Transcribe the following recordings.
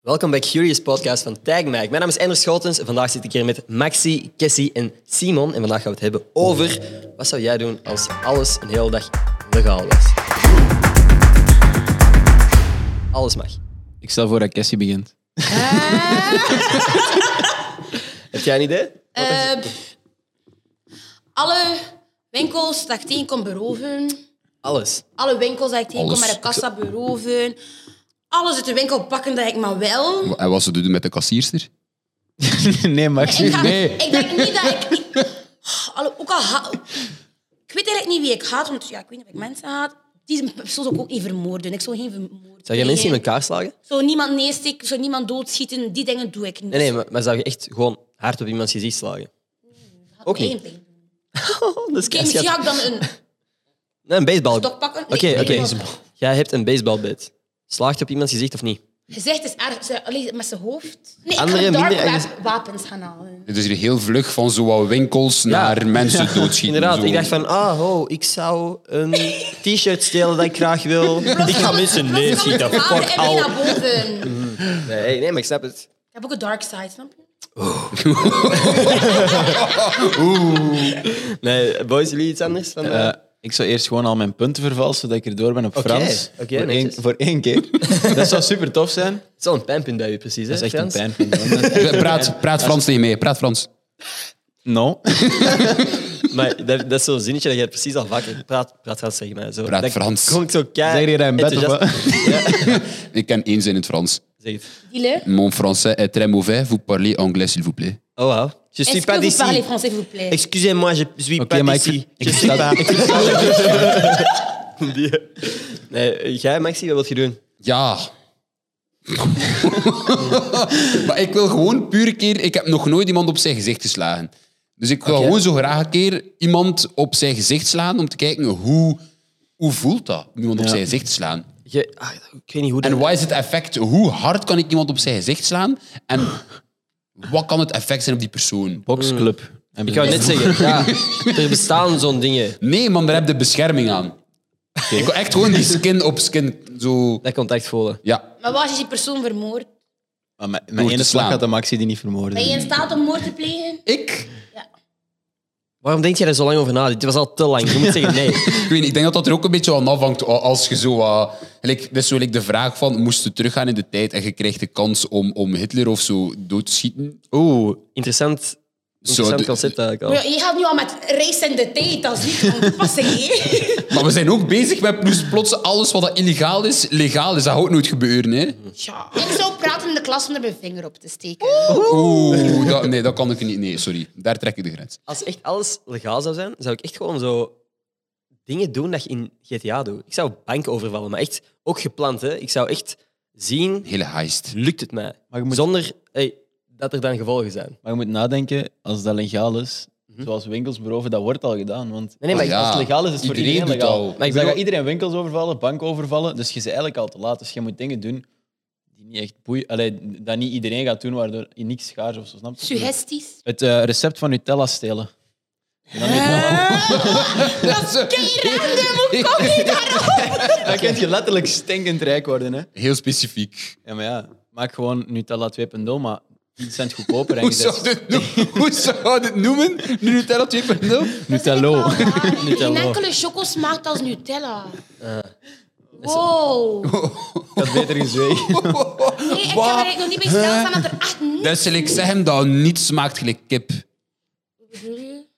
Welkom bij Curious Podcast van Tag Mike. Mijn naam is Ender Schotens en vandaag zit ik hier met Maxi, Cassie en Simon. En vandaag gaan we het hebben over wat zou jij doen als alles een hele dag legaal was? Alles mag. Ik stel voor dat Cassie begint. Heb jij een idee? Eh, pff. alle winkels dat ik tegen kon beroven. Alles. Alle winkels dat ik tegen kon Alles. met de kassa beroven. Alles uit de winkel pakken dat ik maar wel. En wat ze doen met de kassierster? nee, Max. Ik, ga- Nee. ik denk niet dat ik... ik alle, ook al ha- ik weet eigenlijk niet wie ik haat, want ja, ik weet niet of ik mensen haat. Die persoon zou ik ook niet vermoorden. Ik zou geen vermoorden. Zou jij mensen in elkaar slagen? Ik Zou niemand neersteken, ik zou niemand doodschieten. Die dingen doe ik niet. Nee, nee, maar, maar zou je echt gewoon hard op iemands gezicht slagen? Ook Eén niet. ding. Oh, dat is Oké, misschien keihard. ga ik dan een Nee, een baseball. Oké, stok pakken. oké. Nee, een Jij hebt een baseballbeet. Slaagt je op iemands gezicht of niet? Gezicht is erg, ze- allee, met zijn hoofd. Nee, Andere ik ga dark minder web ergens- wapens gaan halen. Het is hier heel vlug van zo'n winkels naar mensen doodschieten. Inderdaad, zo. ik dacht van, ah, oh, ik zou een t-shirt stelen dat ik graag wil. Ik ga mensen neerschieten, Ik ga fuck al. naar boven. Nee, nee, maar ik snap het. Ik heb ook een dark side, snap je? Nee, boys, jullie iets anders? Van, eh, Eh, ik zou eerst gewoon al mijn punten vervalsen, zodat ik erdoor ben op Oké, Frans. oké, voor, één, netjes. voor één keer. dat zou super tof zijn. het is wel een pijnpunt bij u precies, hè, Dat is echt Frans? een pijnpunt. Praat, praat Frans tegen mij, praat Frans. No. Maar dat, dat is zo'n zinnetje dat jij precies al vaak... Praat, praat Frans tegen mij. Zo. Praat dat Frans. Klonk zo kei... Zeg je dat in bed of enthousiast. Ik ken één zin in het Frans. Zeg het. Die lui. Mon français est très mauvais, vous parlez anglais s'il vous plaît. Oh, wow. Je suis Est-ce pas que vous parlez d'ici. français, s'il vous plaît? Excusez-moi, je suis Oké, pas maar ik- d'ici. ik Je suis versta- pas... Die- Nee, eh, jij, Maxi, wat wil je doen? Ja. maar ik wil gewoon puur een keer... Ik heb nog nooit iemand op zijn gezicht geslagen. Dus ik wil gewoon zo graag een keer iemand op zijn gezicht slaan om te kijken hoe, hoe voelt dat, om iemand op zijn gezicht te slaan. Je, ah, ik weet niet hoe dat... En wat is het effect? Hoe hard kan ik iemand op zijn gezicht slaan? En wat kan het effect zijn op die persoon? Boxclub. Ik wou net zeggen, ja, er bestaan zo'n dingen. Nee, man, daar heb je bescherming aan. Ik wil echt gewoon die skin op skin zo... Dat contact voelen. Ja, Maar waar is die persoon vermoord? Maar mijn- Door mijn te ene slag slaan. gaat de Maxi die niet Ben je vermoorden. in staat om moord te plegen? ik? Waarom denk jij er zo lang over na? Dit was al te lang. Je moet zeggen nee. Ik weet niet, ik denk dat dat er ook een beetje aan afhangt a- als je zo... eh, gelijk- dat is zo like, de vraag van, moest je teruggaan in de tijd en je kreeg de kans om, om Hitler of zo dood te schieten? Oeh, interessant, interessant de- concept eigenlijk al. Maar ja, je gaat nu al met race in de tijd, dat is niet van toepassing, hè? Maar we zijn ook bezig met plots- plots alles wat dat illegaal is, legaal is. Dat gaat ook nooit gebeuren, hè? Ja. Ik zou praten in de klas om er mijn vinger op te steken. Oeh, dat, nee, dat kan ik niet. Nee, sorry. Daar trek ik de grens. Als echt alles legaal zou zijn, zou ik echt gewoon zo dingen doen dat je in GTA doet. Ik zou banken overvallen, maar echt ook gepland. Hè. Ik zou echt zien, Hele heist. lukt het mij? Maar je moet- Zonder hey, dat er dan gevolgen zijn. Maar je moet nadenken, als dat legaal is, Mhm. zoals winkels beroven, dat wordt al gedaan. Want Nee, nee, maar Oh ja. als het legaal is, is het voor Iedereen iedereen, doet legaal. al. Maar ik ik dan bedoel- gaat iedereen winkels overvallen, banken overvallen. Dus je bent eigenlijk al te laat. Dus je moet dingen doen die niet echt boeien. Allee, dat niet iedereen gaat doen, waardoor je niks schaars of zo snapt. Suggesties. Het eh, recept van Nutella stelen. Dan kun je letterlijk stinkend rijk worden. Hè? Heel specifiek. Ja, maar ja, maak gewoon Nutella 2.0, maar 10 cent goedkoper. En Hoe je zegt, zou dit, no- hoe zou dit noemen? Nu Nutella 2.0? Nutello. Geen enkele choco smaakt als Nutella. Eh. Wow. Dat had beter gezwegen. Nee, ik heb er eigenlijk nog niet bij stilstaan dat er ah, echt niet Dat zal ik zeggen dat niets smaakt gelijk kip.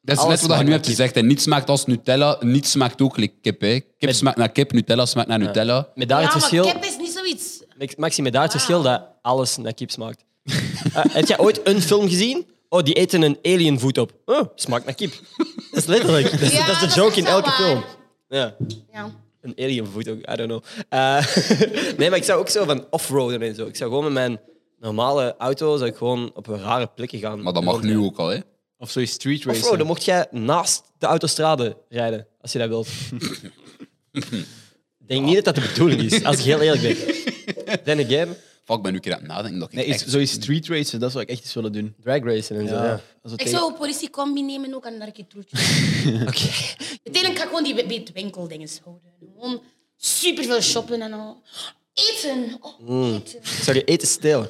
Dat is Alles net wat je smaakt nu hebt naar gezegd. En niets smaakt als Nutella, niets smaakt ook gelijk kip. Hè. Kip smaakt naar kip, Nutella smaakt naar Nutella. Met daar Ja, het maar verschil... kip is niet zoiets. Max- Maxi, met daar het Ah. verschil dat alles naar kip smaakt. Eh, heb jij ooit een film gezien? Oh, die eten een alienvoet op. Oh, smaakt naar kip. Dat is letterlijk. Dat is, Ja, dat is dat de joke is in wel elke waar. film. Ja. Ja. Een alienvoet ook, I don't know. Eh, nee, maar ik zou ook zo van offroaden en zo. Ik zou gewoon met mijn normale auto zou ik gewoon op een rare plekken gaan. Maar dat mag nu ook al, hè? Of zoiets street Offroaden racing. mocht jij naast de autostrade rijden, als je dat wilt. Ik denk niet dat dat de bedoeling is, als ik heel eerlijk ben. Then again, Fuck, ik ben nu een keer aan het nadenken. Dat ik Nee, echt... iets- zoiets street racen, dat zou ik echt eens willen doen. drag racing en zo. Ja. Als we Ik tegen- zou een politiecombi nemen ook aan een arkitroetje. Oké. Uiteindelijk ga ik gewoon die, die winkeldingen houden. Gewoon superveel shoppen en al. Eten. Oh, eten. Hmm. Zou je eten stelen?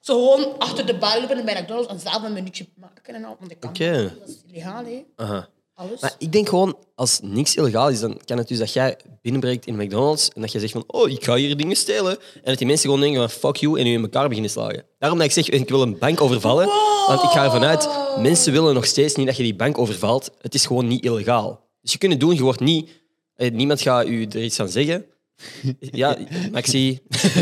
Zo gewoon achter de bar lopen bij McDonald's en zelf een minuutje maken en al. Want ik kan Oké. niet, Dat is illegaal, hè. Aha. Alles. Maar ik denk gewoon, als niks illegaal is, dan kan het dus dat jij binnenbreekt in McDonald's en dat jij zegt van, oh, ik ga hier dingen stelen. En dat die mensen gewoon denken van, fuck you, en u in elkaar beginnen slagen. Daarom dat ik zeg, ik wil een bank overvallen, want ik ga ervan uit, mensen willen nog steeds niet dat je die bank overvalt. Het is gewoon niet illegaal. Dus je kunt het doen, je wordt niet... eh, Niemand gaat u er iets aan zeggen. Ja, Maxi,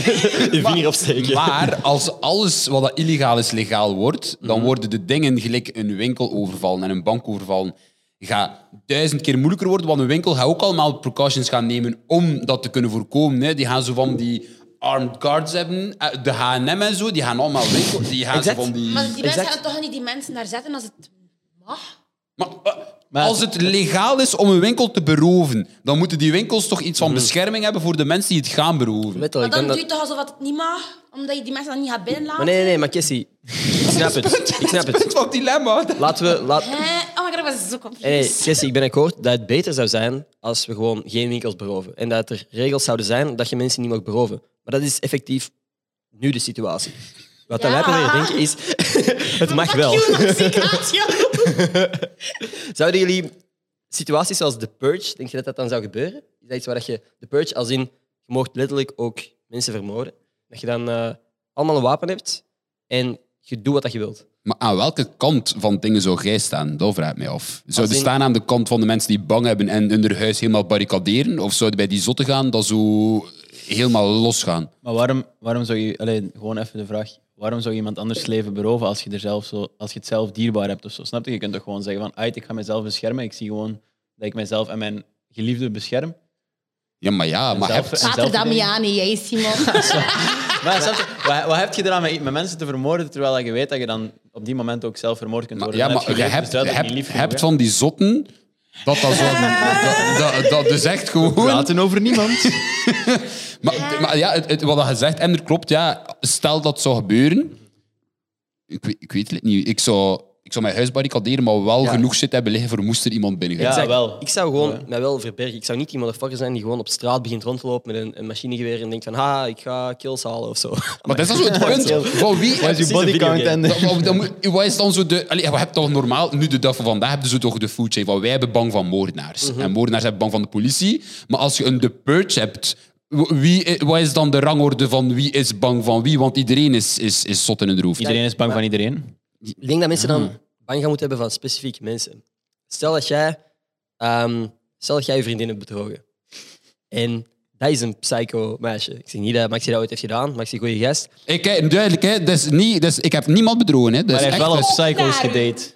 je vinger opsteken. Maar als alles wat dat illegaal is, legaal wordt, dan worden de dingen gelijk een winkel overvallen en een bank overvallen gaat duizend keer moeilijker worden, want een winkel gaat ook allemaal precautions gaan nemen om dat te kunnen voorkomen. Hè. Die gaan zo van die armed guards hebben, eh, de H&M en zo, die gaan allemaal winkel, die gaan zo Exact. van die... Maar die mensen Exact. gaan toch niet die mensen daar zetten als het mag? Maar, eh, Maar- als het legaal is om een winkel te beroven, dan moeten die winkels toch iets van bescherming hebben voor de mensen die het gaan beroven. Wettelijk, Maar dan ik denk dat- doe je toch alsof het niet mag, omdat je die mensen dan niet gaat binnenlaten? Maar nee, nee, nee, maar Cassie, ik snap het. Ik snap Dat het. is wel het dilemma. Laten we... Laat... Hè? Oh my god, ik was zo Hey, confused. Jesse, ik ben akkoord dat het beter zou zijn als we gewoon geen winkels beroven. En dat er regels zouden zijn dat je mensen niet mag beroven. Maar dat is effectief nu de situatie. Wat dat Ja. wij proberen te denken is, het mag wel. Fuck you, Mexicaatje. Zouden jullie situaties zoals de purge, denk je dat dat dan zou gebeuren? Is dat iets waar dat je de purge als in, je mocht letterlijk ook mensen vermoorden. Dat je dan eh, allemaal een wapen hebt en je doet wat dat je wilt. Maar aan welke kant van dingen zou jij staan? Dat vraag ik mij af. Zouden Als in- staan aan de kant van de mensen die bang hebben en hun huis helemaal barricaderen? Of zouden bij die zotten gaan dat zo helemaal losgaan? Maar waarom, waarom zou je, alleen gewoon even de vraag, waarom zou je iemand anders leven beroven als je, er zelf zo, als je het zelf dierbaar hebt of zo? Snap je? Je kunt toch gewoon zeggen van, uit, ik ga mezelf beschermen. Ik zie gewoon dat ik mezelf en mijn geliefde bescherm. Ja, maar ja, maar zelf- heb- en Pater zelfverdediging. Damiani, jij Simon. Maar snap je, wat, wat heb je eraan met, met mensen te vermoorden, terwijl je weet dat je dan op die moment ook zelf vermoord kunt maar, worden? ja, Dan maar heb je geleefd, hebt, dus dat is ook hebt, niet lief hebt genoeg, van die zotten dat dat zo... dat, dat, dat dus echt hè? gewoon... Praten over niemand. Maar, maar ja, het, het- wat je zegt, en er klopt, ja. Stel dat zou gebeuren... Ik, weet- ik weet het niet. Ik zou, ik zou mijn huis barricaderen, maar wel genoeg zit hebben liggen voor moest er iemand binnen gaan. Ja. Exact. wel. Ik zou gewoon mij wel verbergen. Ik zou niet die motherfucker zijn die gewoon op straat begint rond te lopen met een, een machinegeweer en denkt van ha, ik ga kills halen of zo. Maar dat is dan zo het punt. Van wie Wat Precies, is je een body count videogame. en... Dan- dan- dan moet- Wat is dan zo de. Allee, we hebben toch normaal, nu de dag van vandaag, hebben ze toch de food chain van wij hebben bang van moordenaars. Mhm. En moordenaars hebben bang van de politie. Maar als je een The Purge hebt, w- wie, eh, wat is dan de rangorde van wie is bang van wie? Want iedereen is, is, is zot in hun hoofd. Iedereen is bang van iedereen. Ik denk dat mensen dan bang gaan moeten hebben van specifieke mensen. Stel dat jij, ehm, stel dat jij je vriendin hebt bedrogen. En dat is een psycho meisje. Ik zeg niet dat Maxi dat ooit heeft gedaan. Maxi, goede gast. Ik, eh, duidelijk, hè, dat is niet, dat is, ik heb niemand bedrogen. Hè, dat Maar is hij heeft echt, wel op dat is- psycho's daar. gedate.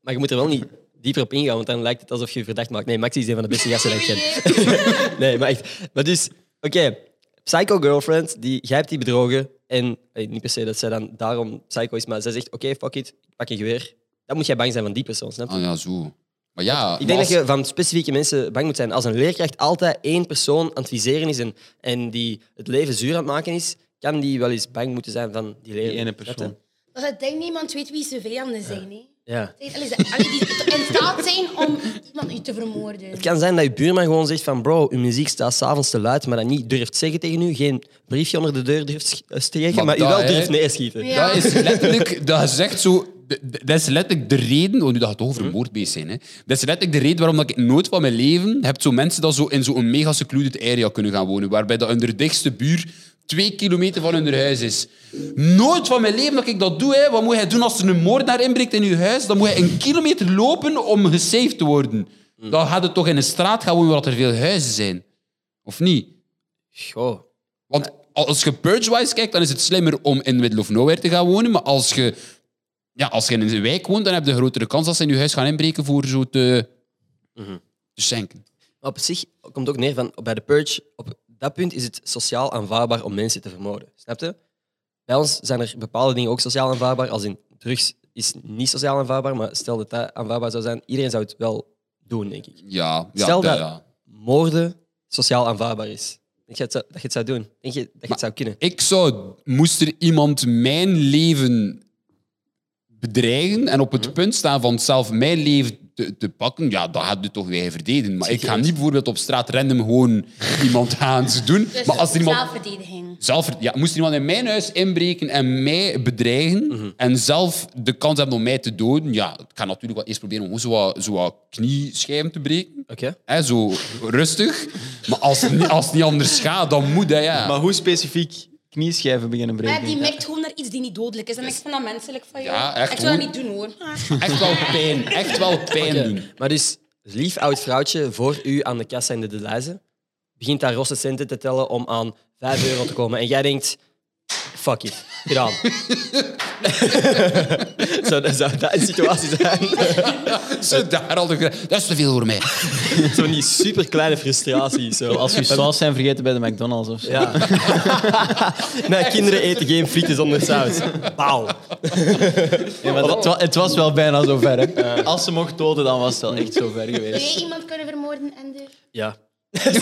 Maar je moet er wel niet dieper op ingaan, want dan lijkt het alsof je je verdacht maakt. Nee, Maxi is een van de beste gasten die ik ken. Nee, maar echt. Maar dus, oké. Psycho girlfriend, die, jij hebt die bedrogen. En eh, niet per se dat zij dan daarom psycho is, maar zij zegt, oké, fuck it, ik pak een geweer. Dan moet jij bang zijn van die persoon, snap je? Ah ja, zo. Maar ja, Ik maar denk als- dat je van specifieke mensen bang moet zijn. Als een leerkracht altijd één persoon aan het viseren is en, en die het leven zuur aan het maken is, kan die wel eens bang moeten zijn van die leerkracht. ene persoon. Dat het denk niemand weet wie zijn vijanden zijn, hè. Ja. Zij- allee, ze- allee, die in staat zijn om iemand u te vermoorden. Het kan zijn dat je buurman gewoon zegt van bro, uw muziek staat s'avonds te luid, maar dat niet durft zeggen tegen u, geen briefje onder de deur durft sch- eh, steken, maar, Maar u dat, wel hè? durft neerschieten. Ja. Dat is letterlijk, dat is echt zo. d- d- Dat is letterlijk de reden. Oh, nu dat gaat toch over moord bezig zijn. Hè. Dat is letterlijk de reden waarom dat ik nooit van mijn leven heb zo mensen dat zo in zo'n mega secluded area kunnen gaan wonen. Waarbij dat hun dichtste buur twee kilometer van hun huis is. Nooit van mijn leven dat ik dat doe. Hè. Wat moet jij doen als er een moordenaar inbreekt in je huis? Dan moet je een kilometer lopen om gesaved te worden. Dan gaat het toch in een straat gaan wonen waar er veel huizen zijn. Of niet? Goh. Want als je purge-wise kijkt, dan is het slimmer om in middle of nowhere te gaan wonen. Maar als je, ja, als je in een wijk woont, dan heb je een grotere kans dat ze in je huis gaan inbreken voor zo te, te schenken. Maar op zich komt het ook neer van bij de purge, op dat punt is het sociaal aanvaardbaar om mensen te vermoorden. Snap je? Bij ons zijn er bepaalde dingen ook sociaal aanvaardbaar, als in drugs is niet sociaal aanvaardbaar, maar stel dat dat aanvaardbaar zou zijn, iedereen zou het wel doen, denk ik. Ja, ja, Stel ja, dat- ja. Moorden sociaal aanvaardbaar is. Denk je dat, zou- dat je het zou doen? Denk je dat je het zou kunnen? Ik zou, moest er iemand mijn leven bedreigen en op het punt staan van zelf mijn leven te, te pakken, ja, dat gaat je toch weer verdedigen. Maar ik ga niet bijvoorbeeld op straat random gewoon iemand gaan doen. Dus maar als er iemand zelfverdediging. zelf, ja, moest er iemand in mijn huis inbreken en mij bedreigen en zelf de kans hebben om mij te doden, ja, ik ga natuurlijk wel eerst proberen om gewoon zo wat, zo wat knieschijven te breken. Oké. Hè, zo rustig. Maar als het, niet- als het niet anders gaat, dan moet dat, ja. Maar hoe specifiek knieschijven beginnen breken? Maar die merkt gewoon naar iets die niet dodelijk is. En ik vind dat menselijk van jou. Ja, echt ik zou dat goed. niet doen hoor. Echt wel pijn. Echt wel pijn doen. Maar dus, lief oud vrouwtje voor u aan de kassa in de Deleuze begint daar rosse centen te tellen om aan 5 euro te komen. En jij denkt, fuck it, gedaan. zou, dat- zou dat een situatie zijn? Ze daar al de gre- Dat is te veel voor mij. Zo'n die superkleine frustratie. Zo. Als Als je saus zijn vergeten bij de McDonald's of zo. Ja. Mijn kinderen eten geen frieten zonder saus. Pauw. Ja, maar dat- het, wa- het was wel bijna zo ver. Hè. Als ze mocht doden, dan was het wel echt zo ver geweest. Zou je iemand kunnen vermoorden, Ender? Ja. nee,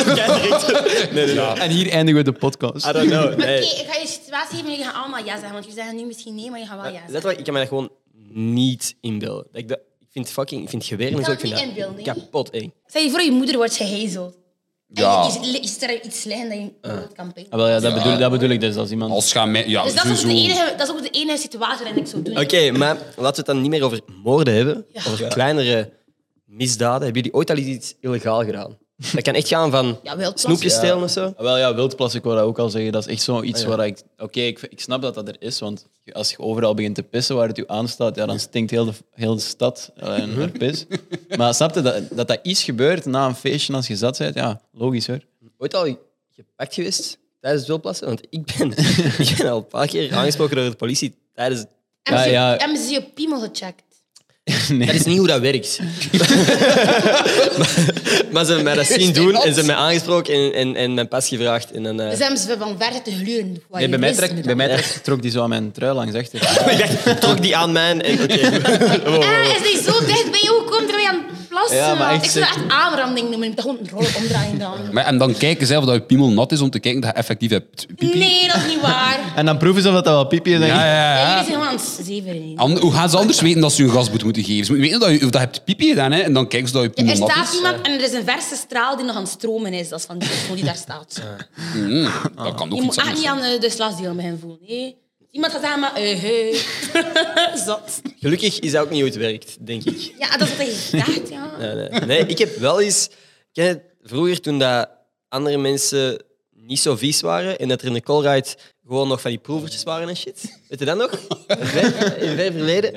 nee, nee. En hier eindigen we de podcast. I don't know. Oké, Nee. ik ga je situatie geven, jullie gaan allemaal ja zeggen. Want jullie zeggen nu misschien nee, maar je gaat wel ja zeggen. Letterlijk, ik kan me dat gewoon niet inbeelden. Dat Ik, dat, ik vind fucking, ik vind geweren kan en zo, ik het vind niet dat inbeelden, hè? kapot eng. Stel je voor, je moeder wordt gehezeld. Ja. En je- je- is er iets liggen dat je dood kan pikken. Ah, wel, ja, dat, bedoel, dat bedoel ik dus. Als iemand... Als gaan mij... Ja, Dus dat is, ook sowieso. de enige, dat is ook de enige situatie waarin ik zou doen. Oké, maar laten we het dan niet meer over moorden hebben. Over kleinere misdaden. Hebben jullie ooit al iets illegaal gedaan? Dat kan echt gaan van Ja, wel, snoepjes plas- stelen of zo. Ah, Wel ja, wildplas, ik wou dat ook al zeggen. Dat is echt zoiets waar ik. Oké, ik, ik snap dat dat er is, want als je overal begint te pissen waar het u aanstaat, ja, dan stinkt heel de, heel de stad eh, naar pis. Maar snap je dat, dat dat iets gebeurt na een feestje als je zat bent? Ja, logisch hoor. Ooit al gepakt geweest tijdens het wilplassen? Want ik ben, ik ben al een paar keer aangesproken door de politie tijdens... Hebben ze- ja. Hebben ze je piemel gecheckt? Dat is niet hoe dat werkt. maar, maar ze hebben mij dat zien doen en ze hebben mij aangesproken en, en, en mijn pas gevraagd. En dan, eh, Dus hebben ze van ver te gluren. waar Nee, je bij mij, wist trek, niet bij mij dat. trek- trok die zo aan mijn trui langs achter. Ik dacht, trok die aan mij en... oké. Ah, is die zo dicht bij jou gekomen terwijl je aan het plassen Ja, maar was? echt Ik zou dat zeker. echt aanranding noemen. Ik moet gewoon een rol omdraaien dan. Maar, en dan kijken zelf dat je piemel nat is om te kijken dat je effectief hebt pipi. Nee, dat is niet waar. En dan proeven ze of dat, dat wel piepje is. Ja, ja, Nee, ja. Jullie zijn gewoon aan het zeveren. hier. Ander- hoe gaan ze anders weten dat ze hun gasboet moeten geven? Ze moeten weten dat je, of dat je hebt pipi gedaan hè, en dan kijken ze dat je Er piemel nat staat is. iemand en er is een verse straal die nog aan het stromen is. Dat is van die persoon die daar staat. Dat kan ook Je moet iets echt anders niet zijn. aan eh, de slagdeel beginnen voelen. Nee. Iemand gaat zeggen, maar... eh, hey. Zot. Gelukkig is dat ook niet hoe het werkt, denk ik. Ja, dat is wat je dacht, ja. Nee, nee. Nee, ik heb wel eens... Ken je het? vroeger, toen dat andere mensen niet zo vies waren en dat er in de callride gewoon nog van die proevertjes waren en shit. Weet je dat nog? In ver, in ver verleden.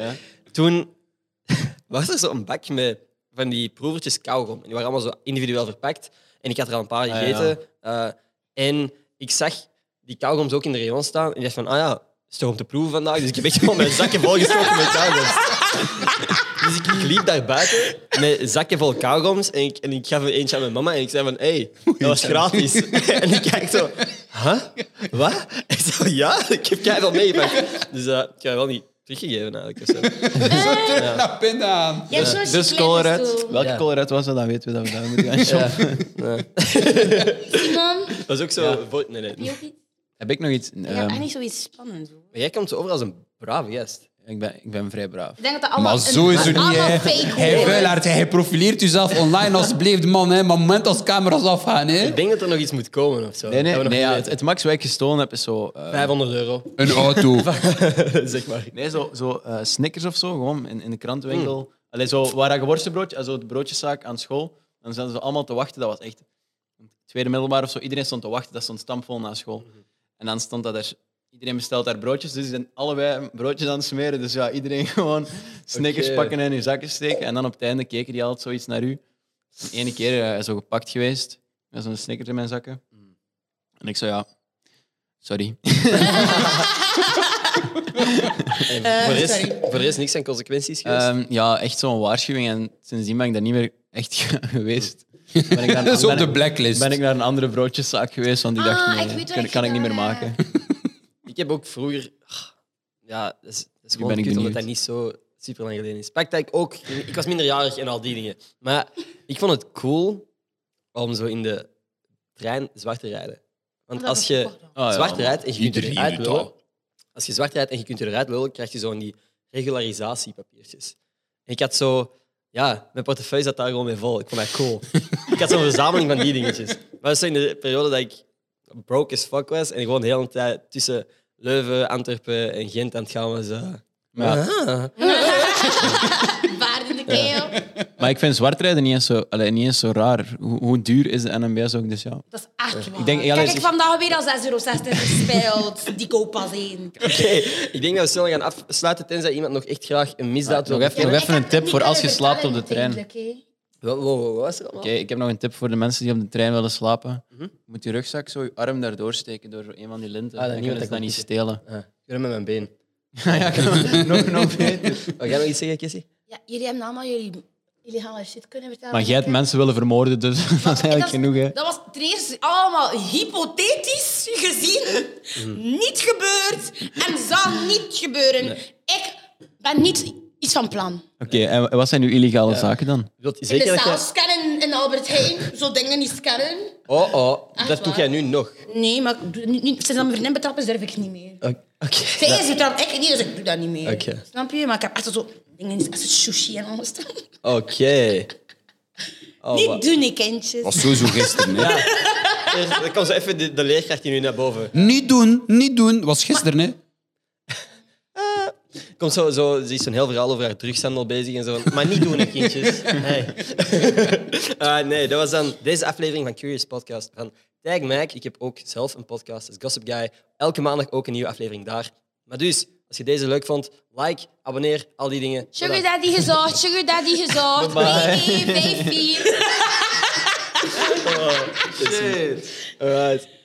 Toen was er zo'n bak met van die proevertjes kauwgom. En die waren allemaal zo individueel verpakt. En ik had er al een paar ja. gegeten. Eh, en ik zag die kauwgoms ook in de rayon staan. En ik dacht van, ah ja, is toch om te proeven vandaag? Dus ik heb echt gewoon mijn zakken volgestoken met kauwgoms. Dus ik, ik liep daar buiten met zakken vol kauwgoms en ik, en ik gaf er eentje aan mijn mama en ik zei van, hé, hey, dat was gratis. en die kijkt zo, huh? Wat? Ik zo, ja, ik heb keihard meegepakt. Dus eh, ik ga wel niet teruggegeven eigenlijk. of zo. Ja, pinda aan. Je hebt zo'n Dus kleine Colorado. stoel. Welke Ja. Colorado was dat? Dan weten we dat we daar moeten gaan shoppen. Simon, Dat is ook zo... voor- nee, nee. je ook iets? Heb ik nog iets? Je hebt Ehm, echt niet zoiets spannends. hoor. Maar jij komt zo over als een brave gast. ik, ben, ik ben vrij braaf. Ik denk dat dat allemaal... Maar zo is het een- niet, allemaal hè. fake Hij hoor. vuilaert, hij profileert jezelf online als beleefd man, hè. Maar moment als camera's afgaan, hè. Ik denk dat er nog iets moet komen of zo. Nee, nee, Dat we nog nee niet ja, het, weten. het max wat ik gestolen heb is zo... eh, 500 euro, Een auto. zeg maar. Nee, zo, zo eh, Snickers of zo, gewoon in, in de krantenwinkel. Allee, zo, waar dat geworstenbroodje, eh, zo het broodjeszaak aan school. Dan zaten ze allemaal te wachten. Dat was echt tweede middelbaar of zo. Iedereen stond te wachten. Dat stond stampvol na school. En dan stond dat er... Iedereen bestelt daar broodjes, dus die zijn allebei broodjes aan het smeren. Dus ja, iedereen gewoon Snickers Oké. pakken en in hun zakken steken. En dan op het einde keken die altijd zoiets naar u. En ene keer eh, zo gepakt geweest, met zo'n Snickers in mijn zakken. En ik zo, ja, sorry. voor, de rest, sorry. voor de rest niks aan consequenties geweest. Ehm, ja, echt zo'n waarschuwing. En sindsdien ben ik daar niet meer echt geweest. Ben ik naar een, Dat is op ben de ik- blacklist. Ben ik naar een andere broodjeszaak geweest, want die Ah, dacht, nee, ik weet wat kan, je kan ik niet meer gedaan maken. Ik heb ook vroeger... Ja, dat is, dat is ben gewoon ik kut, omdat benieuwd. dat niet zo super lang geleden is. Pak dat ik ook... Ik was minderjarig en al die dingen. Maar ik vond het cool om zo in de trein zwart te rijden. Want Dat als was je ook wel. Ah, ja. zwart rijdt en je kunt Iedereen eruit doet lullen... dat. Als je zwart rijdt en je kunt eruit lullen, krijg je zo'n die regularisatiepapiertjes. En ik had zo Ja, mijn portefeuille zat daar gewoon mee vol. Ik vond dat cool. ik had zo'n verzameling van die dingetjes. Maar dat is zo in de periode dat ik broke as fuck was en gewoon de hele tijd tussen Leuven, Antwerpen en Gent aan het gaan was. eh, Maar, ja, ah. Baard in de keel. maar ik vind zwartrijden niet eens zo, allee, niet eens zo raar. Hoe, hoe duur is de NMBS ook? Dus ja. Dat is echt waar. Ik denk, ja, Kijk, dat ik is- vandaag weer al 6,60 euro gespeeld. Die koop pas één. Oké, ik denk dat we snel gaan afsluiten, tenzij iemand nog echt graag een misdaad wil Ah, nog even, nog vertellen. even een tip voor als je slaapt op de trein. Oké, Wat wat- wat was er allemaal? ik heb nog een tip voor de mensen die op de trein willen slapen. Je moet je rugzak zo je arm daardoor steken door zo een van die linten. Mhm. Ah, dat dan niet, kunnen want ze dat dat niet stelen. Ah, ik ben met mijn been. nog, nog beter. Wil jij nog iets zeggen, Kissy? Ja, jullie hebben allemaal jullie, jullie gaan wel shit kunnen vertellen. Maar jij hebt mensen willen vermoorden, dus dat is eigenlijk genoeg. Hè. Dat was ten eerste allemaal hypothetisch gezien. Niet gebeurd. En zal niet gebeuren. Ik ben niet iets van plan. Oké, en wat zijn nu illegale zaken dan? Wilt je De zeker dat zaal jij... scannen in Albert Heijn, zo dingen niet scannen. Oh, oh, dat waar? doe jij nu nog. Nee, maar ik doe niet, niet, sinds dat mijn vriendin betrapt is, durf ik niet meer. Oké. Zij is betrapt, ik niet, dus ik doe dat niet meer. Oké. Snap je? Maar ik heb echt zo dingen, echt zo sushi en alles. Oké. Oh, niet wa- doen, ik kindjes. was sowieso gisteren. Hè. Eerst- Dan komt zo even de, de leerkracht hier nu naar boven. Niet doen, niet doen. was gisteren, hè. Komt zo, zo, ze is zo'n heel verhaal over haar drugshandel bezig en zo. Maar niet doen, hè, kindjes. Nee. Ah, nee, dat was dan deze aflevering van Curious Podcast van Tag Mike. Ik heb ook zelf een podcast, dat is Gossip Guy. Elke maandag ook een nieuwe aflevering daar. Maar dus, als je deze leuk vond, like, abonneer, al die dingen. Sugar daddy gezocht, sugar daddy gezocht. Nee, nee, nee, nee. Alright.